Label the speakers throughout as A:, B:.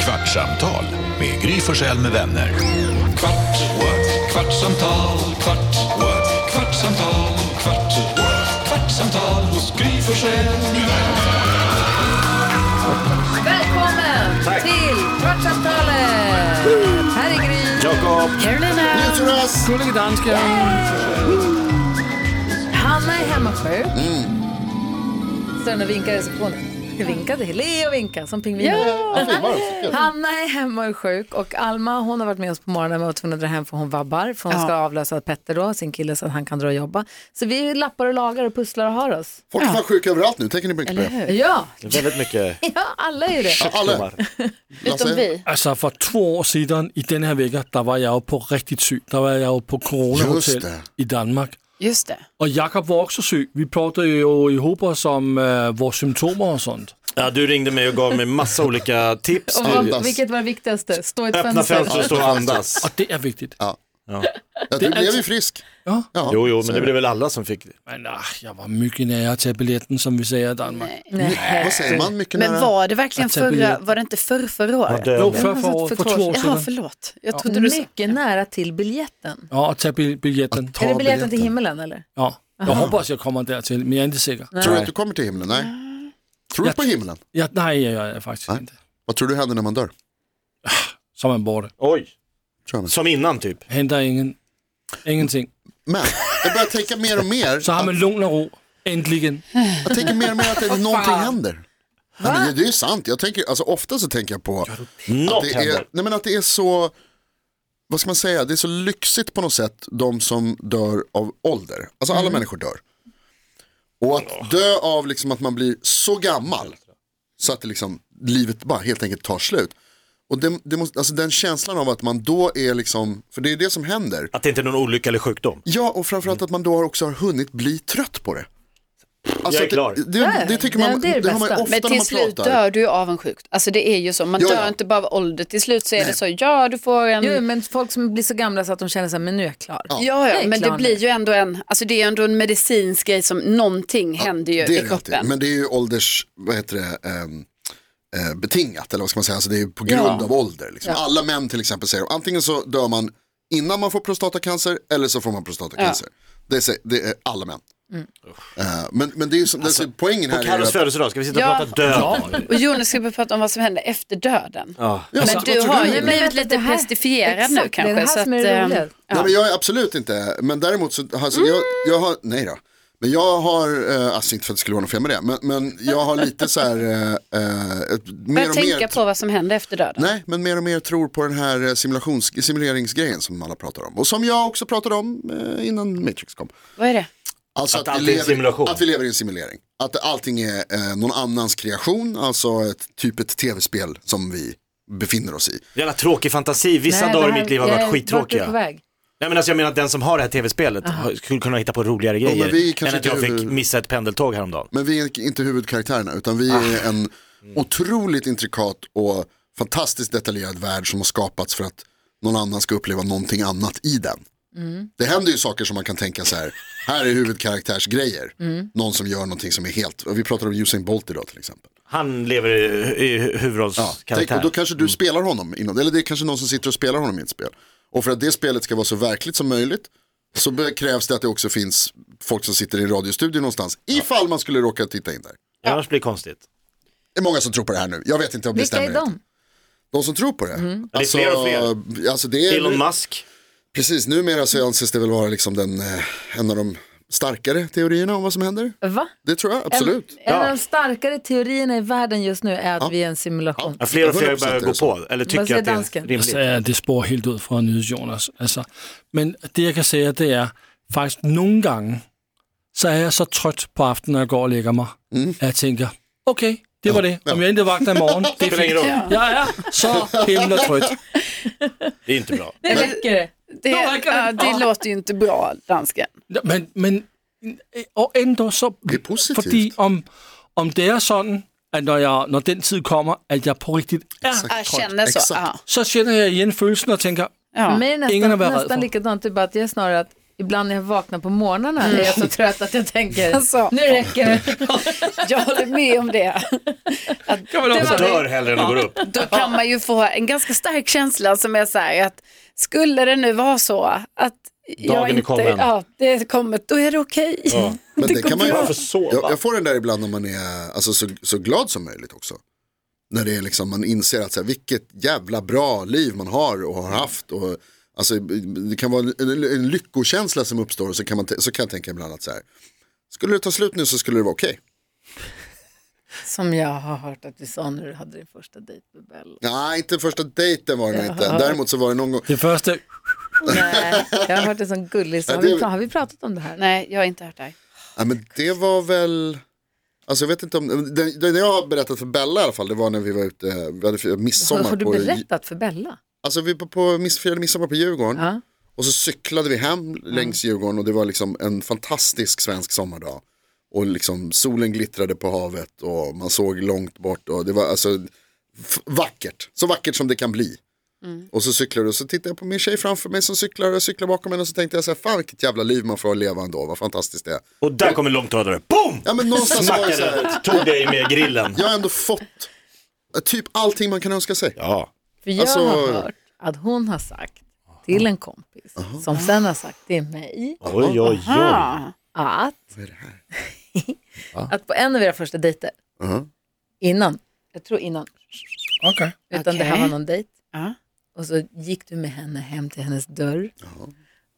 A: Kvartsamtal med Gry Forssell med vänner. Kvart, what? kvartsamtal, kvart, what? kvartsamtal, kvart, what? kvartsamtal hos Gry Forssell med vänner.
B: Välkommen till Kvartsamtalet! Här är Gry. Carolina.
C: Gullige dansken.
B: Hanna är hemmasjuk. Mm. Stöna vinkar i receptionen. Vinkade, le och vinka som pingviner. Hanna är hemma och är sjuk och Alma hon har varit med oss på morgonen men var tvungen att dra hem för hon vabbar för hon ska avlösa Petter då, sin kille så att han kan dra och jobba. Så vi lappar och lagar och pusslar och har oss.
D: Folk är fan sjuka överallt nu, tänker ni inte på det?
B: Ja,
E: Det är väldigt mycket
B: ja alla är ju det.
D: Alla,
E: domar.
D: Lasse,
C: Altså for to år siden i den her vecka, der var jeg jo på rigtigt syg. Der var jeg jo på
D: Just
C: coronahotel
D: det.
C: i Danmark.
F: Just det.
C: Og Jakob var også syg. Vi plottede jo i hober som øh, vores symptomer og sådan.
E: Ja, du ringde mig och gav mig massa olika tips.
B: Och vad,
D: Andas.
B: vilket var det viktigaste? Stå i ett
E: Öppna fönster och
B: fönster.
E: stå och andas.
C: Og det er vigtigt.
D: ja, du blev ju frisk.
C: Ja.
D: Ja.
E: Jo, jo, men det blev väl alla som fick det.
C: Men ah, jeg var myggen af jer til billetten, som vi säger i Danmark.
D: Vad säger man? Mycket
F: Men
D: nära.
F: var det verkligen
C: Att jag
F: förra,
C: vet.
F: var det inte förr, förra året?
C: Jo,
E: Döden.
C: før for, år- for to år
F: Jaha,
C: siden.
F: förlåt. Jag trodde du sa...
B: Mycket nära till biljetten.
C: Ja, og tage bi- billetten.
B: Är det biljetten till himmelen eller?
C: Ja. Jeg håber også, jeg kommer dertil, men jeg er ikke sikker.
D: Tror du att du kommer till himlen? Nej. Tror du på himlen?
C: Ja, nej, jeg er faktisk
D: Nej.
C: ikke.
D: Vad tror du händer när man dör?
C: Så er man borte.
E: Oj,
D: Tror jag man.
E: som innan typ.
C: Henter ingen, ingenting.
D: Men jag börjar tänka mer och mer.
C: Så har man lugn og ro. Endelig.
D: Jag tänker mer och mer att det, någonting händer. Nej, men det, det är ju sant. Jag tänker, alltså, ofta så tänker jag på att
E: Något
D: det, är,
E: händer.
D: nej, men att det är så, vad ska man säga, det är så lyxigt på något sätt de som dör av ålder. Alltså
E: Mm.
D: alla människor dör. Och att dö av liksom att man blir så gammal så att det liksom, livet bara helt enkelt tar slut. Och det, det måste, alltså den känslan av att man då är liksom, för det är det som händer.
E: Att det inte är någon olycka eller sjukdom.
D: Ja, och framförallt att man då också har hunnit bli trött på det. Alltså,
E: är klar.
D: Det, det, det tycker
B: Ja,
D: man,
B: det är det
D: det, har man ju
B: bästa.
D: ofta
F: Men
D: när
F: till
D: man
F: slut
D: pratar.
F: dör du ju av en sjukdom. Alltså det är ju så, man
D: Ja, ja.
F: dör inte bara av ålder. Till slut så är det så, ja du får en...
B: Jo, men folk som blir så gamla så att de känner sig men nu är jag klar.
F: Ja,
B: Jag
F: ja,
B: är
F: men det
B: klar nu.
F: blir ju ändå en, alltså det är ändå en medicinsk grej som någonting händer ju
D: det är
F: i
D: det
F: kroppen.
D: alltid. Men det är ju ålders, vad heter det, ehm, eh, betingat eller vad ska man säga, alltså det är ju på grund av ålder. Liksom. Alla män till exempel säger, antingen så dör man innan man får prostatacancer eller så får man prostatacancer. Det, säger, det är alla män.
F: Mm.
D: Eh, men, men det är ju som, det, är- poängen här
E: Alltså, På
D: är ju
E: Carros
D: att,
E: födelsedag ska vi sitta
F: Ja.
E: och prata död.
F: Och Jonas ska vi prata om vad som händer efter döden.
E: Ja.
D: Ja,
F: Men
D: så-
F: du
D: vad tror
F: har ju
D: Nej,
B: men
F: blivit
B: vänta, det
F: lite
B: här-
F: pestifierad nu
B: Exakt,
F: kanske.
B: Det är det
F: så
B: här
F: att,
B: som är det
F: eh,
B: roliga.
D: Nej, men jag är absolut inte, men däremot så, alltså, jag,
F: Mm.
D: jag har, nej då, men jag har, eh, alltså inte för att det skulle vara något fel med det, men, men jag har lite så här, eh, eh, ett- mer
F: Börja
D: och mer,
F: tänka på vad som händer efter döden.
D: nej, men mer och mer tror på den här eh, simulations, simuleringsgrejen som alla pratar om, och som jag också pratade om eh, innan Matrix kom.
F: Vad är det?
D: Alltså
E: Att
D: att, vi
E: allt är en
D: lever,
E: simulation.
D: att vi lever i en simulering. Att allting är eh, någon annans kreation, alltså ett, typ ett tv-spel som vi befinner oss i.
E: Jävla tråkig fantasi. Vissa dagar i mitt liv har varit
B: eh, Vart är du på
E: skittråkiga.
B: väg?
E: Nej men alltså jag menar att den som har det här tv-spelet har- skulle kunna hitta på roligare
D: men vi
E: grejer.
D: kanske
E: Än att
D: inte
E: jag fick
D: huvud-
E: missa ett pendeltåg häromdagen.
D: Men vi är inte huvudkaraktärerna utan vi är en otroligt intrikat och fantastiskt detaljerad värld som har skapats för att någon annan ska uppleva någonting annat i den. Det händer ju saker som man kan tänka så här, här är huvudkaraktärsgrejer, någon som gör någonting som är helt, och vi pratar om Usain Bolt idag till exempel.
E: Han lever i, i
D: Ja, tänk, och
E: huvudrollskaraktär.
D: då kanske du spelar honom, inom, eller det är kanske någon som sitter och spelar honom i ett spel. Och för att det spelet ska vara så verkligt som möjligt så be- krävs det att det också finns folk som sitter i en radiostudio någonstans, ifall man skulle råka titta in där.
E: Annars blir det konstigt.
D: Det är många som tror på det här nu. Jag vet inte om det
B: Vilka
D: stämmer.
B: är de?
D: riktigt. de som tror på det?
F: Mm.
E: är fler och fler.
D: Alltså det är,
E: Elon Musk.
D: Precis, numera så anses det väl vara liksom den, eh, en av de starkare teorierna om vad som händer.
B: Va?
D: Det tror jag, absolut.
B: En av
E: Ja.
B: de starkare teorierna i världen just nu är att vi är en simulation.
E: Ja, fler och fler
D: 100% är
E: börjar
D: det
E: gå
D: så.
E: på, eller
B: Vad
E: tycker
B: säger
E: att det är
B: dansken?
E: rimligt.
C: Så er det spår helt ud fra nydes Jonas. Altså, men det, jeg kan sige, det er faktisk nogle gange, så er jeg så trødt på aftenen, når jeg går og lægger mig, at jeg tænker, okay, det var det. Om jeg ikke vagter i morgen, det er
E: Spelar ingen
C: fint.
E: roll.
C: Jeg er så himla trødt.
E: Det är inte bra.
B: Det räcker det.
F: Det,
C: Då räcker det.
F: ja, det
C: Ja.
F: låter ju inte bra, dansken.
C: Ja, Men, men og endda så...
D: Det er positivt.
C: Fordi om, om det er sådan, at når, jeg, når den tid kommer, at jeg på rigtigt er
F: Jag
C: trødt,
F: känner så.
D: Exakt.
F: Ja.
C: så känner jeg igen følelsen og tænker,
F: Ja.
B: Men
C: Ingen har
B: nästan,
C: varit rädd
B: nästan
C: för.
B: likadant, det är bara att jag är snarare att ibland när jag vaknar på morgnarna är jag så trött att jag tänker,
F: Alltså.
B: nu räcker det.
F: Jag håller med om det. Att
E: Kan väl de
B: var
E: som
B: det.
E: dör hellre än att går upp.
F: då kan man ju få en ganska stark känsla som är så här att skulle det nu vara så att jag
E: Dagen är
F: inte,
E: kommen.
F: Ja, det är kommet, då är det okej.
D: Men det kan man ju,
E: Varför sova?
D: jag, jag får den där ibland när man är alltså, så, så glad som möjligt också. När det är liksom, man inser att så här, vilket jävla bra liv man har och har haft. Och, alltså, det kan vara en, en, en lyckokänsla som uppstår och så kan, man, t- så kan jag tänka ibland att så här, skulle det ta slut nu så skulle det vara okej.
B: Som jag har hört att du sa när du hade din första dejt med Bella.
D: Nej, inte första dejten var det inte. Däremot så var det någon gång,
C: Det första,
B: Nej, jag har hört en sån gullig, så har,
D: Ja, det-
B: vi, pra- har vi pratat om det här?
F: Nej, jag har inte hört det här.
D: ja, men det var väl, alltså jag vet inte om, det, det jag har berättat för Bella i alla fall, det var när vi var ute, vi hade firat midsommar.
B: Har, har du
D: på-
B: berättat för Bella?
D: Alltså vi var på, miss- firade midsommar på Djurgården.
B: Ja.
D: Och så cyklade vi hem längs Djurgården och det var liksom en fantastisk svensk sommardag. Och liksom solen glittrade på havet och man såg långt bort och det var alltså f- vackert, så vackert som det kan bli. Och så cyklade och så tittade jag på min tjej framför mig som cyklar och cyklar bakom henne och så tänkte jag så här, fan vilket jävla liv man får leva ändå, vad fantastiskt det är.
E: Och där kommer långtradare. Boom!
D: Ja men någonstans var det så
E: Smackade,
D: här,
E: tog dig med grillen.
D: jag har ändå fått eh, typ allting man kan önska sig.
E: Ja.
B: För jag
D: Alltså-
B: har hört att hon har sagt till en kompis, som sen har sagt till mig,
E: Oj, oj, oj.
F: Ah.
B: att, att på en av era första dejter,
D: Mhm.
B: innan, jag tror innan,
C: okej.
B: utan
F: Okej.
B: det här var någon dejt,
F: Ja.
B: och så gick du med henne hem till hennes dörr,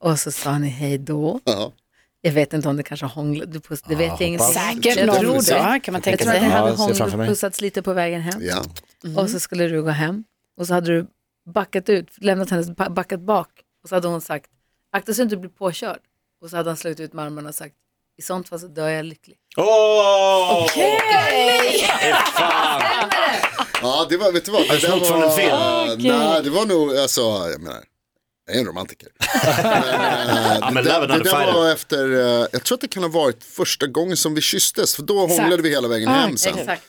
B: och så sa ni hej då.
D: Ja.
B: Jag vet inte om det kanske hånglade, du puss, det vet jag inget.
F: Säkert
B: jag tror
F: någon
B: det.
F: sa, kan man
B: Jag
F: tänka
B: tror att det
F: sig.
E: Ja,
B: hade
E: jag ser framför mig.
B: hångpussats lite på vägen hem.
D: ja.
F: Mm.
B: Och så skulle du gå hem och så hade du backat ut, lämnat hennes ba- backat bak och så hade hon sagt akta så du inte blir påkörd. Och så hade han slagit ut med armarna och sagt i sånt fall så dör jag lycklig.
E: Åh!
D: Ja, det var, vet du vad? Det
E: snott från en film?
D: Nej, det var nog, alltså, jag menar, jag är en romantiker.
E: Ja,
D: Det,
E: men
D: där-
E: Love
D: det
E: and
D: där var
E: Fire.
D: efter, eh, jag tror att det kan ha varit första gången som vi kysstes, för då hånglade vi hela vägen hem sen.
B: Exakt.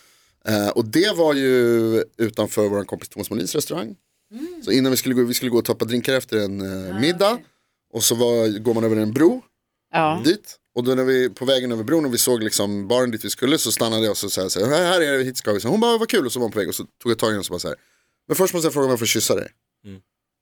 D: Eh, och det var ju utanför vår kompis Thomas Molins restaurang.
B: Mm.
D: Så innan vi skulle gå, vi skulle gå och ta ett par drinkar efter en eh, middag. Och så var, går man över en bro
F: Ja.
D: dit. Och då när vi på vägen över bron och vi såg liksom baren dit vi skulle så stannade jag och så sa så här, här är det, hit ska vi. Så hon bara, vad kul. Och så var hon på väg och så tog jag tag i henne och så bara så här, men först måste jag fråga om jag får kyssa dig.
E: Mm.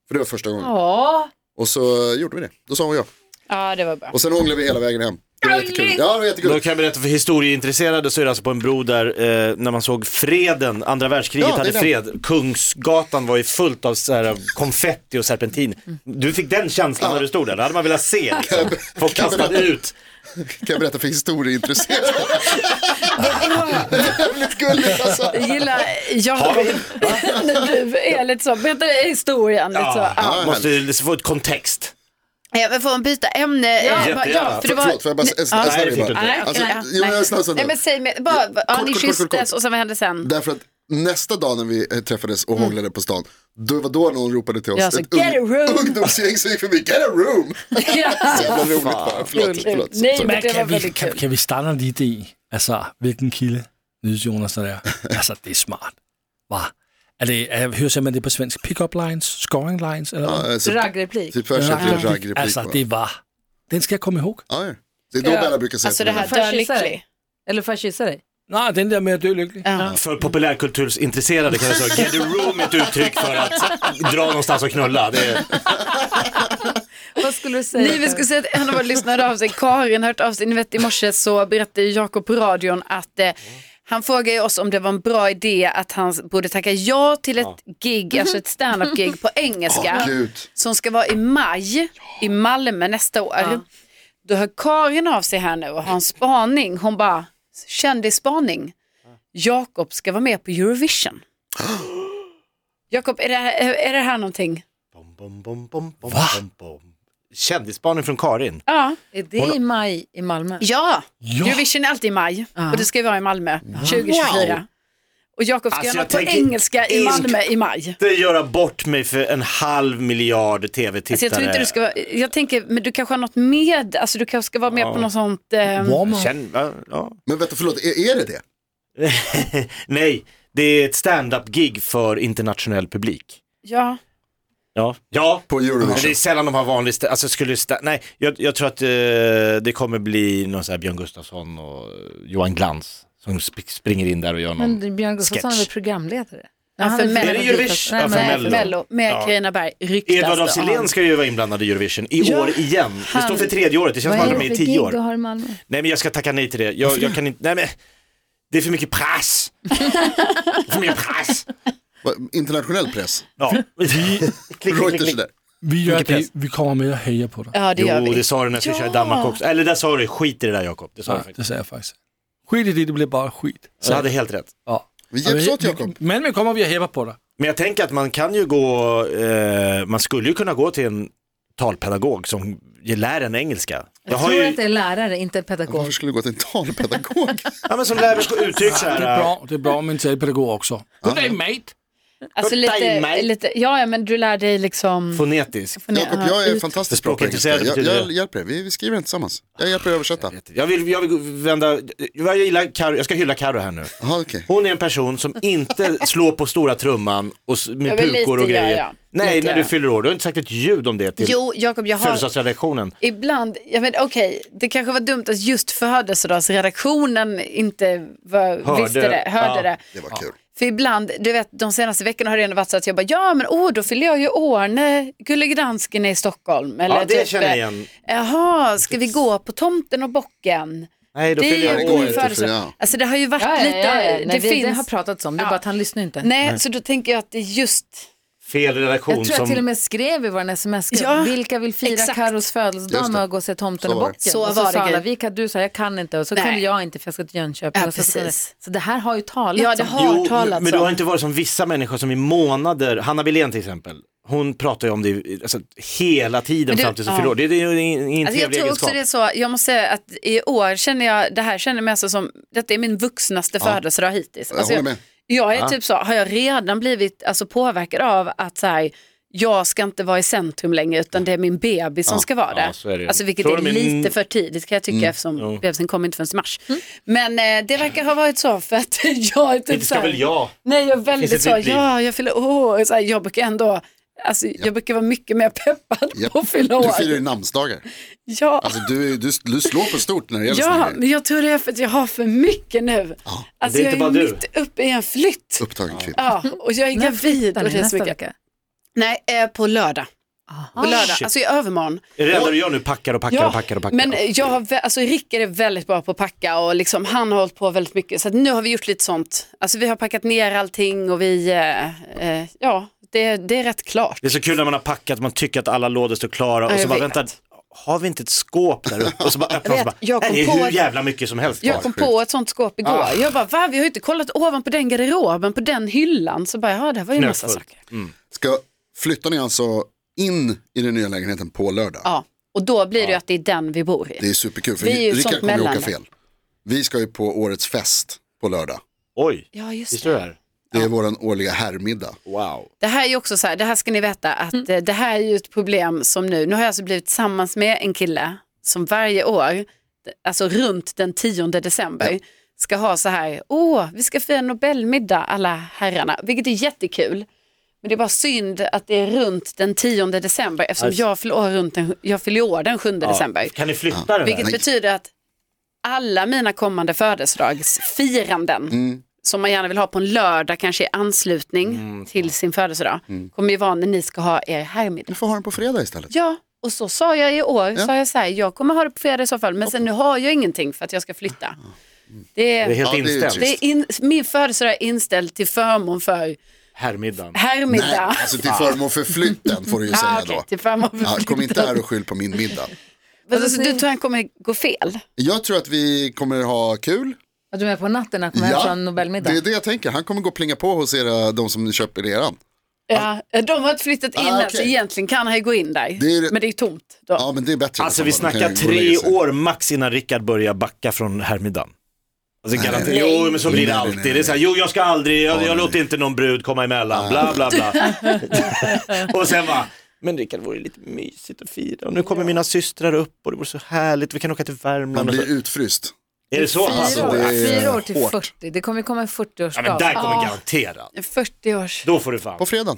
D: För det var första gången.
B: Ja,
D: Och så gjorde vi det. Då sa hon ja.
F: ja, det var bra.
D: Och sen hånglade vi hela vägen hem. Det var jättekul. Ja, det var
E: Då
D: jättekul.
E: kan jag berätta för historieintresserade så är det alltså på en bro där eh, när man såg freden, andra världskriget
D: Ja, det är den.
E: hade fred, Kungsgatan var ju fullt av så här, eh, konfetti och serpentin. Du fick den känslan när du stod där, det hade man velat se. Liksom. Folk
D: kan jag
E: kastade
D: berätta?
E: ut.
D: Kan jag berätta för historieintresserade? det är jävligt gulligt alltså.
F: Jag gillar, jag när du är lite så, berätta historien lite så. Ja.
E: Ja, måste ju få ett kontext.
F: Ja, men får man byta ämne?
E: Ja,
F: bara,
E: jättegärna.
F: för det var,
D: Förlåt, får jag bara en
F: Ja.
D: snabb
E: Nej, det fick
D: grej
E: du inte.
D: bara?
F: Nej,
D: Alltså,
F: nej,
D: jo,
F: nej.
D: en snabb sak
F: Nej,
D: bara.
F: men säg mig, bara, ja,
D: kort,
F: ni
D: kort, kort, kort.
F: kysstes och sen vad hände sen?
D: Därför att nästa dag när vi eh, träffades och hånglade på stan, då var då någon ropade till oss,
F: Mm. Ja, så,
D: ett
F: "Get a room!" Ah,
D: ungdomsgäng som gick förbi, get a room! Så jävla roligt bara, förlåt. förlåt.
F: Nej,
D: Så-
F: men det var
C: Kan vi,
F: väldigt
C: kan,
F: kul.
C: kan vi starte lidt i, altså, hvilken kilde Nydes Jonas der er? Altså, det er smart. Var. Er det, er, hører simpelthen det på svensk? Pick-up lines? Scoring lines? Eller hvad?
D: Ja, så-
B: raggreplik.
D: Typ först efter raggreplik.
C: Altså,
E: Alltså,
D: bara.
C: det var. Den skal jeg komme ihåg.
D: Ja, ja. Det är då Bella brukar säga
F: Alltså
D: till
F: det
D: mig.
F: här,
B: Får jag
F: dö
B: kyssa dig?
F: lycklig.
B: Eller får jag kyssa dig?
C: Nej, den der med at dø lykkelig.
E: För populärkulturintresserade kan jag säga, get a room är ett uttryck för att dra någonstans och knulla. Det är,
B: Vad skulle du säga?
F: Nej, vi skulle säga att en av våra lyssnare hörde av sig, Karin har hört av sig, ni vet i morse så berättade ju Jakob på radion att eh, han frågade ju oss om det var en bra idé att han borde tacka ja till ett gig, alltså ett standup-gig på engelska.
D: Åh, gud.
F: som ska vara i maj i Malmö nästa år. Då hör Karin av sig här nu och har en spaning. Hon bara, kändisspaning. Jakob ska vara med på Eurovision. Jakob, är det, här- är det här någonting?
E: bom, bom, bom, bom, bom, bom, bom. Kändisspaning från Karin.
F: Ja.
B: Är det i maj i Malmö?
F: Ja,
C: Ja.
F: Eurovision är alltid i maj och det ska ju vara i Malmö 2024. Och Jakob ska
E: Alltså, jag
F: göra något på
E: tänker
F: engelska i
E: inte-
F: Malmö i maj.
E: Inte göra bort mig för en halv miljard
F: Alltså
E: tv-tittare.
F: jag tror inte du ska vara, jag tänker, men du kanske har något med, alltså du kanske ska vara med på något sånt. ehm,
C: Warmer.
E: Känn, va? ja.
D: Men vänta, förlåt, är, är det det?
E: Nej, det är ett stand-up-gig för internationell publik.
F: ja.
E: Ja. ja.
D: På Eurovision.
E: Men det är sällan de har vanlig stä- alltså skulle stä- Nej, jag, jag tror att eh, det kommer bli någon sån här Björn Gustafsson och Johan Glans som sp- springer in där och gör någon.
B: Men Björn Gustafsson är
E: Sketch.
B: väl programledare?
F: Ja, för
B: Han väl
F: Mello.
B: programledare?
E: Är det Eurovision?
B: Nej,
E: Ja, för
B: men-
F: Nej,
E: Mello.
F: Mello med
E: Ja.
F: Carina Berg ryktas
E: Edvard af
F: det om.
E: Sillén ska ju vara inblandad i Eurovision i år igen. Det står för tredje året, det känns som
B: Vad
E: att han
B: är det
E: har med i
B: för
E: tio
B: gig
E: år.
B: du har i Malmö?
E: Nej men jag ska tacka nej till det. Jag, jag kan inte, nej men det är för mycket press. för mycket press.
D: Va, Internationell press.
E: Ja. Klick, klick, klick,
D: Reuters
E: klick.
D: där.
C: Vi gör
E: Mycket
C: det,
E: press.
C: vi kommer med och hejar på dig.
F: Ja, det gör
E: Jo,
F: vi.
E: det sa du när jag skulle
F: Ja.
E: köra i Danmark också. Eller där sa du, skit i det där Jakob. Det sa du
C: Ja,
E: faktiskt.
C: det säger jag faktiskt. Skit i det, det blir bara skit.
E: Så jag hade helt rätt.
C: Ja.
D: Vi hjälps åt Jakob.
C: Men vi kommer vi och hejar på dig.
E: Men jag tänker att man kan ju gå, eh, man skulle ju kunna gå till en talpedagog som lär en engelska. Jag
B: Jag
E: har
B: tror
E: ju,
B: att det är lärare, inte pedagog.
D: Varför skulle du gå till en talpedagog?
E: ja men som lär mig uttryck så
C: Det
E: här.
C: är
E: eh,
C: bra, det är bra med en talpedagog också. Good day mate!
F: Alltså
E: Putta in
F: lite,
E: mig.
F: lite, ja, ja, men du lär dig liksom...
E: eh, Fonetisk.
D: Jakob, jag är fantastiskt bra på engelska.
E: Språkintresserad
D: Jag,
E: betyder
D: jag
E: det.
D: hjälper dig, vi, vi skriver den tillsammans. Jag hjälper dig att översätta.
E: Jag vill, jag vill vända, jag, gillar Karo, jag ska hylla Karo här nu.
D: Jaha, okej.
E: Hon är en person som inte slår på stora trumman och s-
F: Ja,
E: med
F: men
E: pukor och
F: lite gör
E: grejer.
F: jag.
E: Nej,
F: Lite
E: när
F: gör
E: du
F: jag.
E: fyller år, du har inte sagt ett ljud om det till
F: Jo, Jakob, jag har
E: födelsedagsredaktionen.
F: ibland, jag vet, okej, det kanske var dumt att just födelsedagsredaktionen inte var,
E: Hörde.
F: visste det, hörde
E: Ja.
F: det.
D: Det var kul.
F: För ibland, du vet de senaste veckorna har det ändå varit så att jag bara, ja men åh då fyller jag ju år när Gullige Dansken är i Stockholm. Eller
E: Ja, det
F: typ,
E: känner jag
F: eh,
E: igen.
F: Jaha, ska vi gå på tomten och bocken?
E: Nej, då
F: Det
E: fyller
F: är
E: jag
F: ju
E: år.
F: min
D: inte, för
F: födelsedag.
D: ja.
F: Alltså det har ju varit
B: Ja, ja,
F: lite,
B: ja, ja.
F: det
B: Nej, vi,
F: finns.
B: det har pratats om, det är
F: Ja.
B: bara att han lyssnar inte.
F: Nej, så då tänker jag att det är just
E: Fel redaktion
B: Jag tror jag
E: som...
B: till och med skrev i vår sms -grupp,
F: Ja,
B: vilka vill fira
F: exakt.
B: Carros
D: Just
B: födelsedag
D: det.
B: med att gå och se Tomten
D: Så
B: och
D: var det.
B: bocken?
F: Så
B: och så
F: var det,
B: sa alla,
F: Gry.
B: vi kan, du sa jag kan inte och så
F: Nej.
B: kunde jag inte för jag ska till Jönköping.
F: Ja,
B: och så, så,
F: precis.
B: så det här har ju talats
F: Ja, det
B: om.
F: har-
E: men,
F: talats
E: men du har
F: om.
E: inte varit som vissa människor som i månader, Hanna Billén till exempel, hon pratar ju om det i- alltså, hela tiden
F: Men du-
E: fram tills hon
F: ja.
E: fyller år. Det, det är ju ingen, ingen
F: Alltså jag
E: trevlig
F: tror
E: egenskap.
F: också det är så, jag måste säga att i år känner jag, det här känner jag mig alltså som, detta är min vuxnaste födelsedag hittills.
D: Jag
F: Alltså
D: håller med.
F: jag är typ så, har jag redan blivit alltså, påverkad av att så här, jag ska inte vara i centrum längre utan det är min bebis som ska vara
E: Ja,
F: där.
E: så är det ju.
F: Alltså vilket
E: Tror Mm.
F: är
E: de är
F: lite
E: n-
F: för tidigt kan jag tycka eftersom bebisen kommer inte förrän i mars.
B: Mm.
F: Men eh, det verkar ha varit så för att jag är typ
E: Inte
F: så
E: ska
F: här,
E: väl jag?
F: Nej jag är väldigt
E: Finns
F: så,
E: ett nytt liv.
F: ja jag fyller år, så här, jag brukar ändå Alltså, Jag brukar vara mycket mer peppad
D: Japp.
F: på att fylla
D: Du
F: år.
D: firar ju namnsdagar.
F: Ja.
D: Alltså du, är- du, du slår på stort när det gäller såna
F: Ja,
D: här grejer.
F: men jag tror det är för att jag har för mycket nu. Alltså
E: Det är
F: jag
E: inte
F: är
E: bara du.
F: mitt uppe i en flytt.
D: Upptagen kvinna.
F: Ja, och jag är
B: När
F: gravid
B: flyttar
F: och
B: ni
F: det är
B: nästa
F: så mycket.
B: vecka?
F: Nej, eh, på lördag. På lördag,
E: Shit.
F: alltså i övermorgon.
E: Är det enda du gör nu? Packar och packar och packar och packar.
F: men jag har, vä- alltså Rickard är väldigt bra på att packa och liksom, han har hållit på väldigt mycket. Så att nu har vi gjort lite sånt. Alltså vi har packat ner allting och vi, eh, eh, ja, det, det är rätt klart.
E: Det är så kul när man har packat, man tycker att alla lådor står klara
F: Ja,
E: och så
F: jag
E: bara
F: vet.
E: vänta, har vi inte ett skåp där uppe? Och så bara öppnar man och
F: vet,
E: så
F: jag
E: bara,
F: kom
E: "Nej, det är
F: på
E: hur
F: att-
E: jävla mycket som helst kvar.
F: Jag kom på ett sånt skåp igår.
E: Ah.
F: Jag bara, va? Vi har ju inte kollat ovanpå den garderoben, på den hyllan. Så bara, ja, det var ju en massa
E: Knökfullt.
F: saker.
D: Ska, flyttar ni alltså in i den nya lägenheten på lördag?
F: Ja, och då blir det ju att det är den vi bor i.
D: Det är superkul för
F: Vi är ju ett
D: Rickard
F: sånt
D: kommer ju åka
F: mellanland.
D: fel. Vi ska ju på årets fest på lördag.
E: Oj,
F: Ja, just
E: visste du det
F: det.
E: här?
D: Det är våran årliga herrmiddag.
E: Wow.
F: Det här är ju också så här, det här ska ni veta att eh, det här är ju ett problem som nu, nu har jag alltså blivit tillsammans med en kille som varje år, alltså runt den 10 december, ska ha så här, åh, vi ska fira Nobelmiddag alla herrarna, vilket är jättekul. Men det är bara synd att det är runt den 10 december eftersom
E: Alltså.
F: jag fyller år, runt den, jag fyller år den 7 december.
E: Kan ni flytta den
F: Vilket
E: här?
D: Nej.
F: betyder att alla mina kommande födelsedagsfiranden
D: Mm.
F: som man gärna vill ha på en lördag kanske i anslutning
D: Mm,
F: till sin födelsedag kommer ju vara när ni ska ha er
D: Du
F: härmiddag.
D: får ha den på fredag istället.
F: Ja, och så sa jag i år,
D: Ja.
F: sa jag så här, jag kommer ha det på fredag i så fall, men sen nu har jag ingenting för att jag ska flytta. Det
E: Det är
F: är,
E: helt
D: Ja, Ah. Mm. det är ju
E: inställt.
D: trist.
F: det är in, min födelsedag är inställd till förmån för
E: Herrmiddagen.
D: Nej,
F: härmiddag.
D: alltså till förmån för flytten får du ju
F: Ah,
D: säga
F: okej,
D: då.
F: till förmån för
D: Ja, kom inte
F: flytten.
D: här och skyll på min middag.
F: Alltså, så du tror han kommer gå fel?
D: Jag tror att vi kommer ha kul.
B: Att du är med på natten när han kommer hem från Nobelmiddag?
D: det är det jag tänker. Han kommer gå och plinga på hos era, de som köper eran.
F: Ja, eh, de har inte flyttat in
D: Ah,
F: än, så
D: okej.
F: egentligen kan han ju gå in där.
D: Det är ju-
F: Men det är tomt då.
D: Ja, men det är bättre.
E: Alltså
D: i
E: vi
D: alla fall. De kan
E: snackar
D: ju gå och lägga
E: tre
D: sig.
E: år max innan Rickard börjar backa från herrmiddagen. Alltså garanterat,
F: nej.
E: jo men så blir det
D: Nej, nej,
E: alltid.
D: nej,
E: Det är så här, jo jag ska aldrig, jag,
D: nej,
E: jag låter inte någon brud komma emellan, bla bla bla. och sen bara, men Rickard vore det lite mysigt att fira och nu kommer mina systrar upp och det vore så härligt, vi kan åka till
D: Han
E: Värmland. Och så.
D: blir utfryst.
E: Är det så?
B: Fyra,
D: Alltså,
B: år,
D: det är
B: fyra år till
D: hårt.
B: 40, det kommer komma en 40-årsdag.
E: Ja men där kommer
F: Ja.
E: garanterat,
F: 40 års.
E: då får du fan.
D: På fredagen.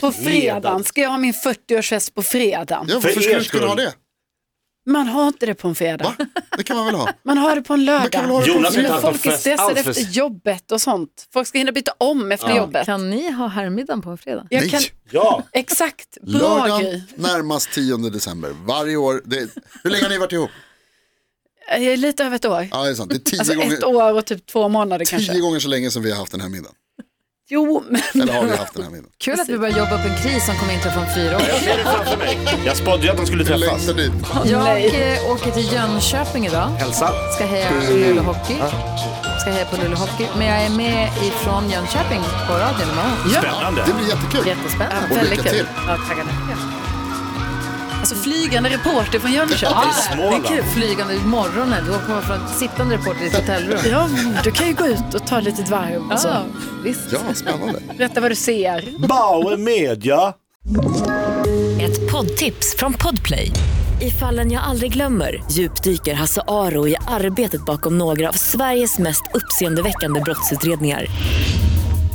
F: På fredagen. Ska jag ha min 40-årsfest på fredagen?
D: Ja, varför
E: er
D: skulle du inte kunna ha
E: skull.
D: det?
F: Man har inte det på en fredag.
D: Va? Det kan man väl ha?
F: Man har det på en
D: Man kan väl ha
F: lördag.
D: det på en
E: Jonas har inte
D: fredag?
E: haft någon
F: Folk är
E: fest
F: stressade
E: alls. för-
F: efter jobbet och sånt. Folk ska hinna byta om efter jobbet.
B: Kan ni ha herrmiddagen på en fredag?
F: Jag
D: Nej.
F: kan...
E: Ja,
F: Exakt, bra
D: Lördagen
F: grej.
D: närmast 10 december. Varje år. Det, hur länge har ni varit ihop?
F: Jag är lite över ett år.
D: Ja, det är sant. Det är tio,
F: Alltså
D: gånger,
F: ett år och typ två månader kanske.
D: tio gånger så länge som vi har haft den här middagen.
F: Jo, men
D: Eller har vi haft den här middagen.
B: Kul att vi börjar jobba upp en kris som kommer inträffa om fyra år.
E: jag ser det framför mig. Jag spådde ju att de skulle
D: Vi
E: träffas.
D: längtar dit.
B: Jag
F: Nej.
B: eh, åker till Jönköping idag.
E: Hälsa.
B: Ska heja på Luleå Hockey. Ska heja på Luleå Hockey. Men jag är med ifrån Jönköping på radion imorgon.
E: Spännande.
D: Det blir jättekul.
B: Jättespännande.
D: Och lycka
B: Väldigt kul.
D: till.
B: Ja, tackar.
F: alltså flygande reporter från Jönköping.
E: Småland.
B: Det är kul. Flygande i morgonen. Då kommer man från sittande reporter i ett hotellrum.
F: Ja, du kan ju gå ut och ta ett litet varv och så.
B: Ja, visst.
D: Ja, spännande.
F: Berätta vad du ser.
E: Bauer Media.
G: Ett poddtips från Podplay. I fallen jag aldrig glömmer djupdyker Hasse Aro i arbetet bakom några av Sveriges mest uppseendeväckande brottsutredningar.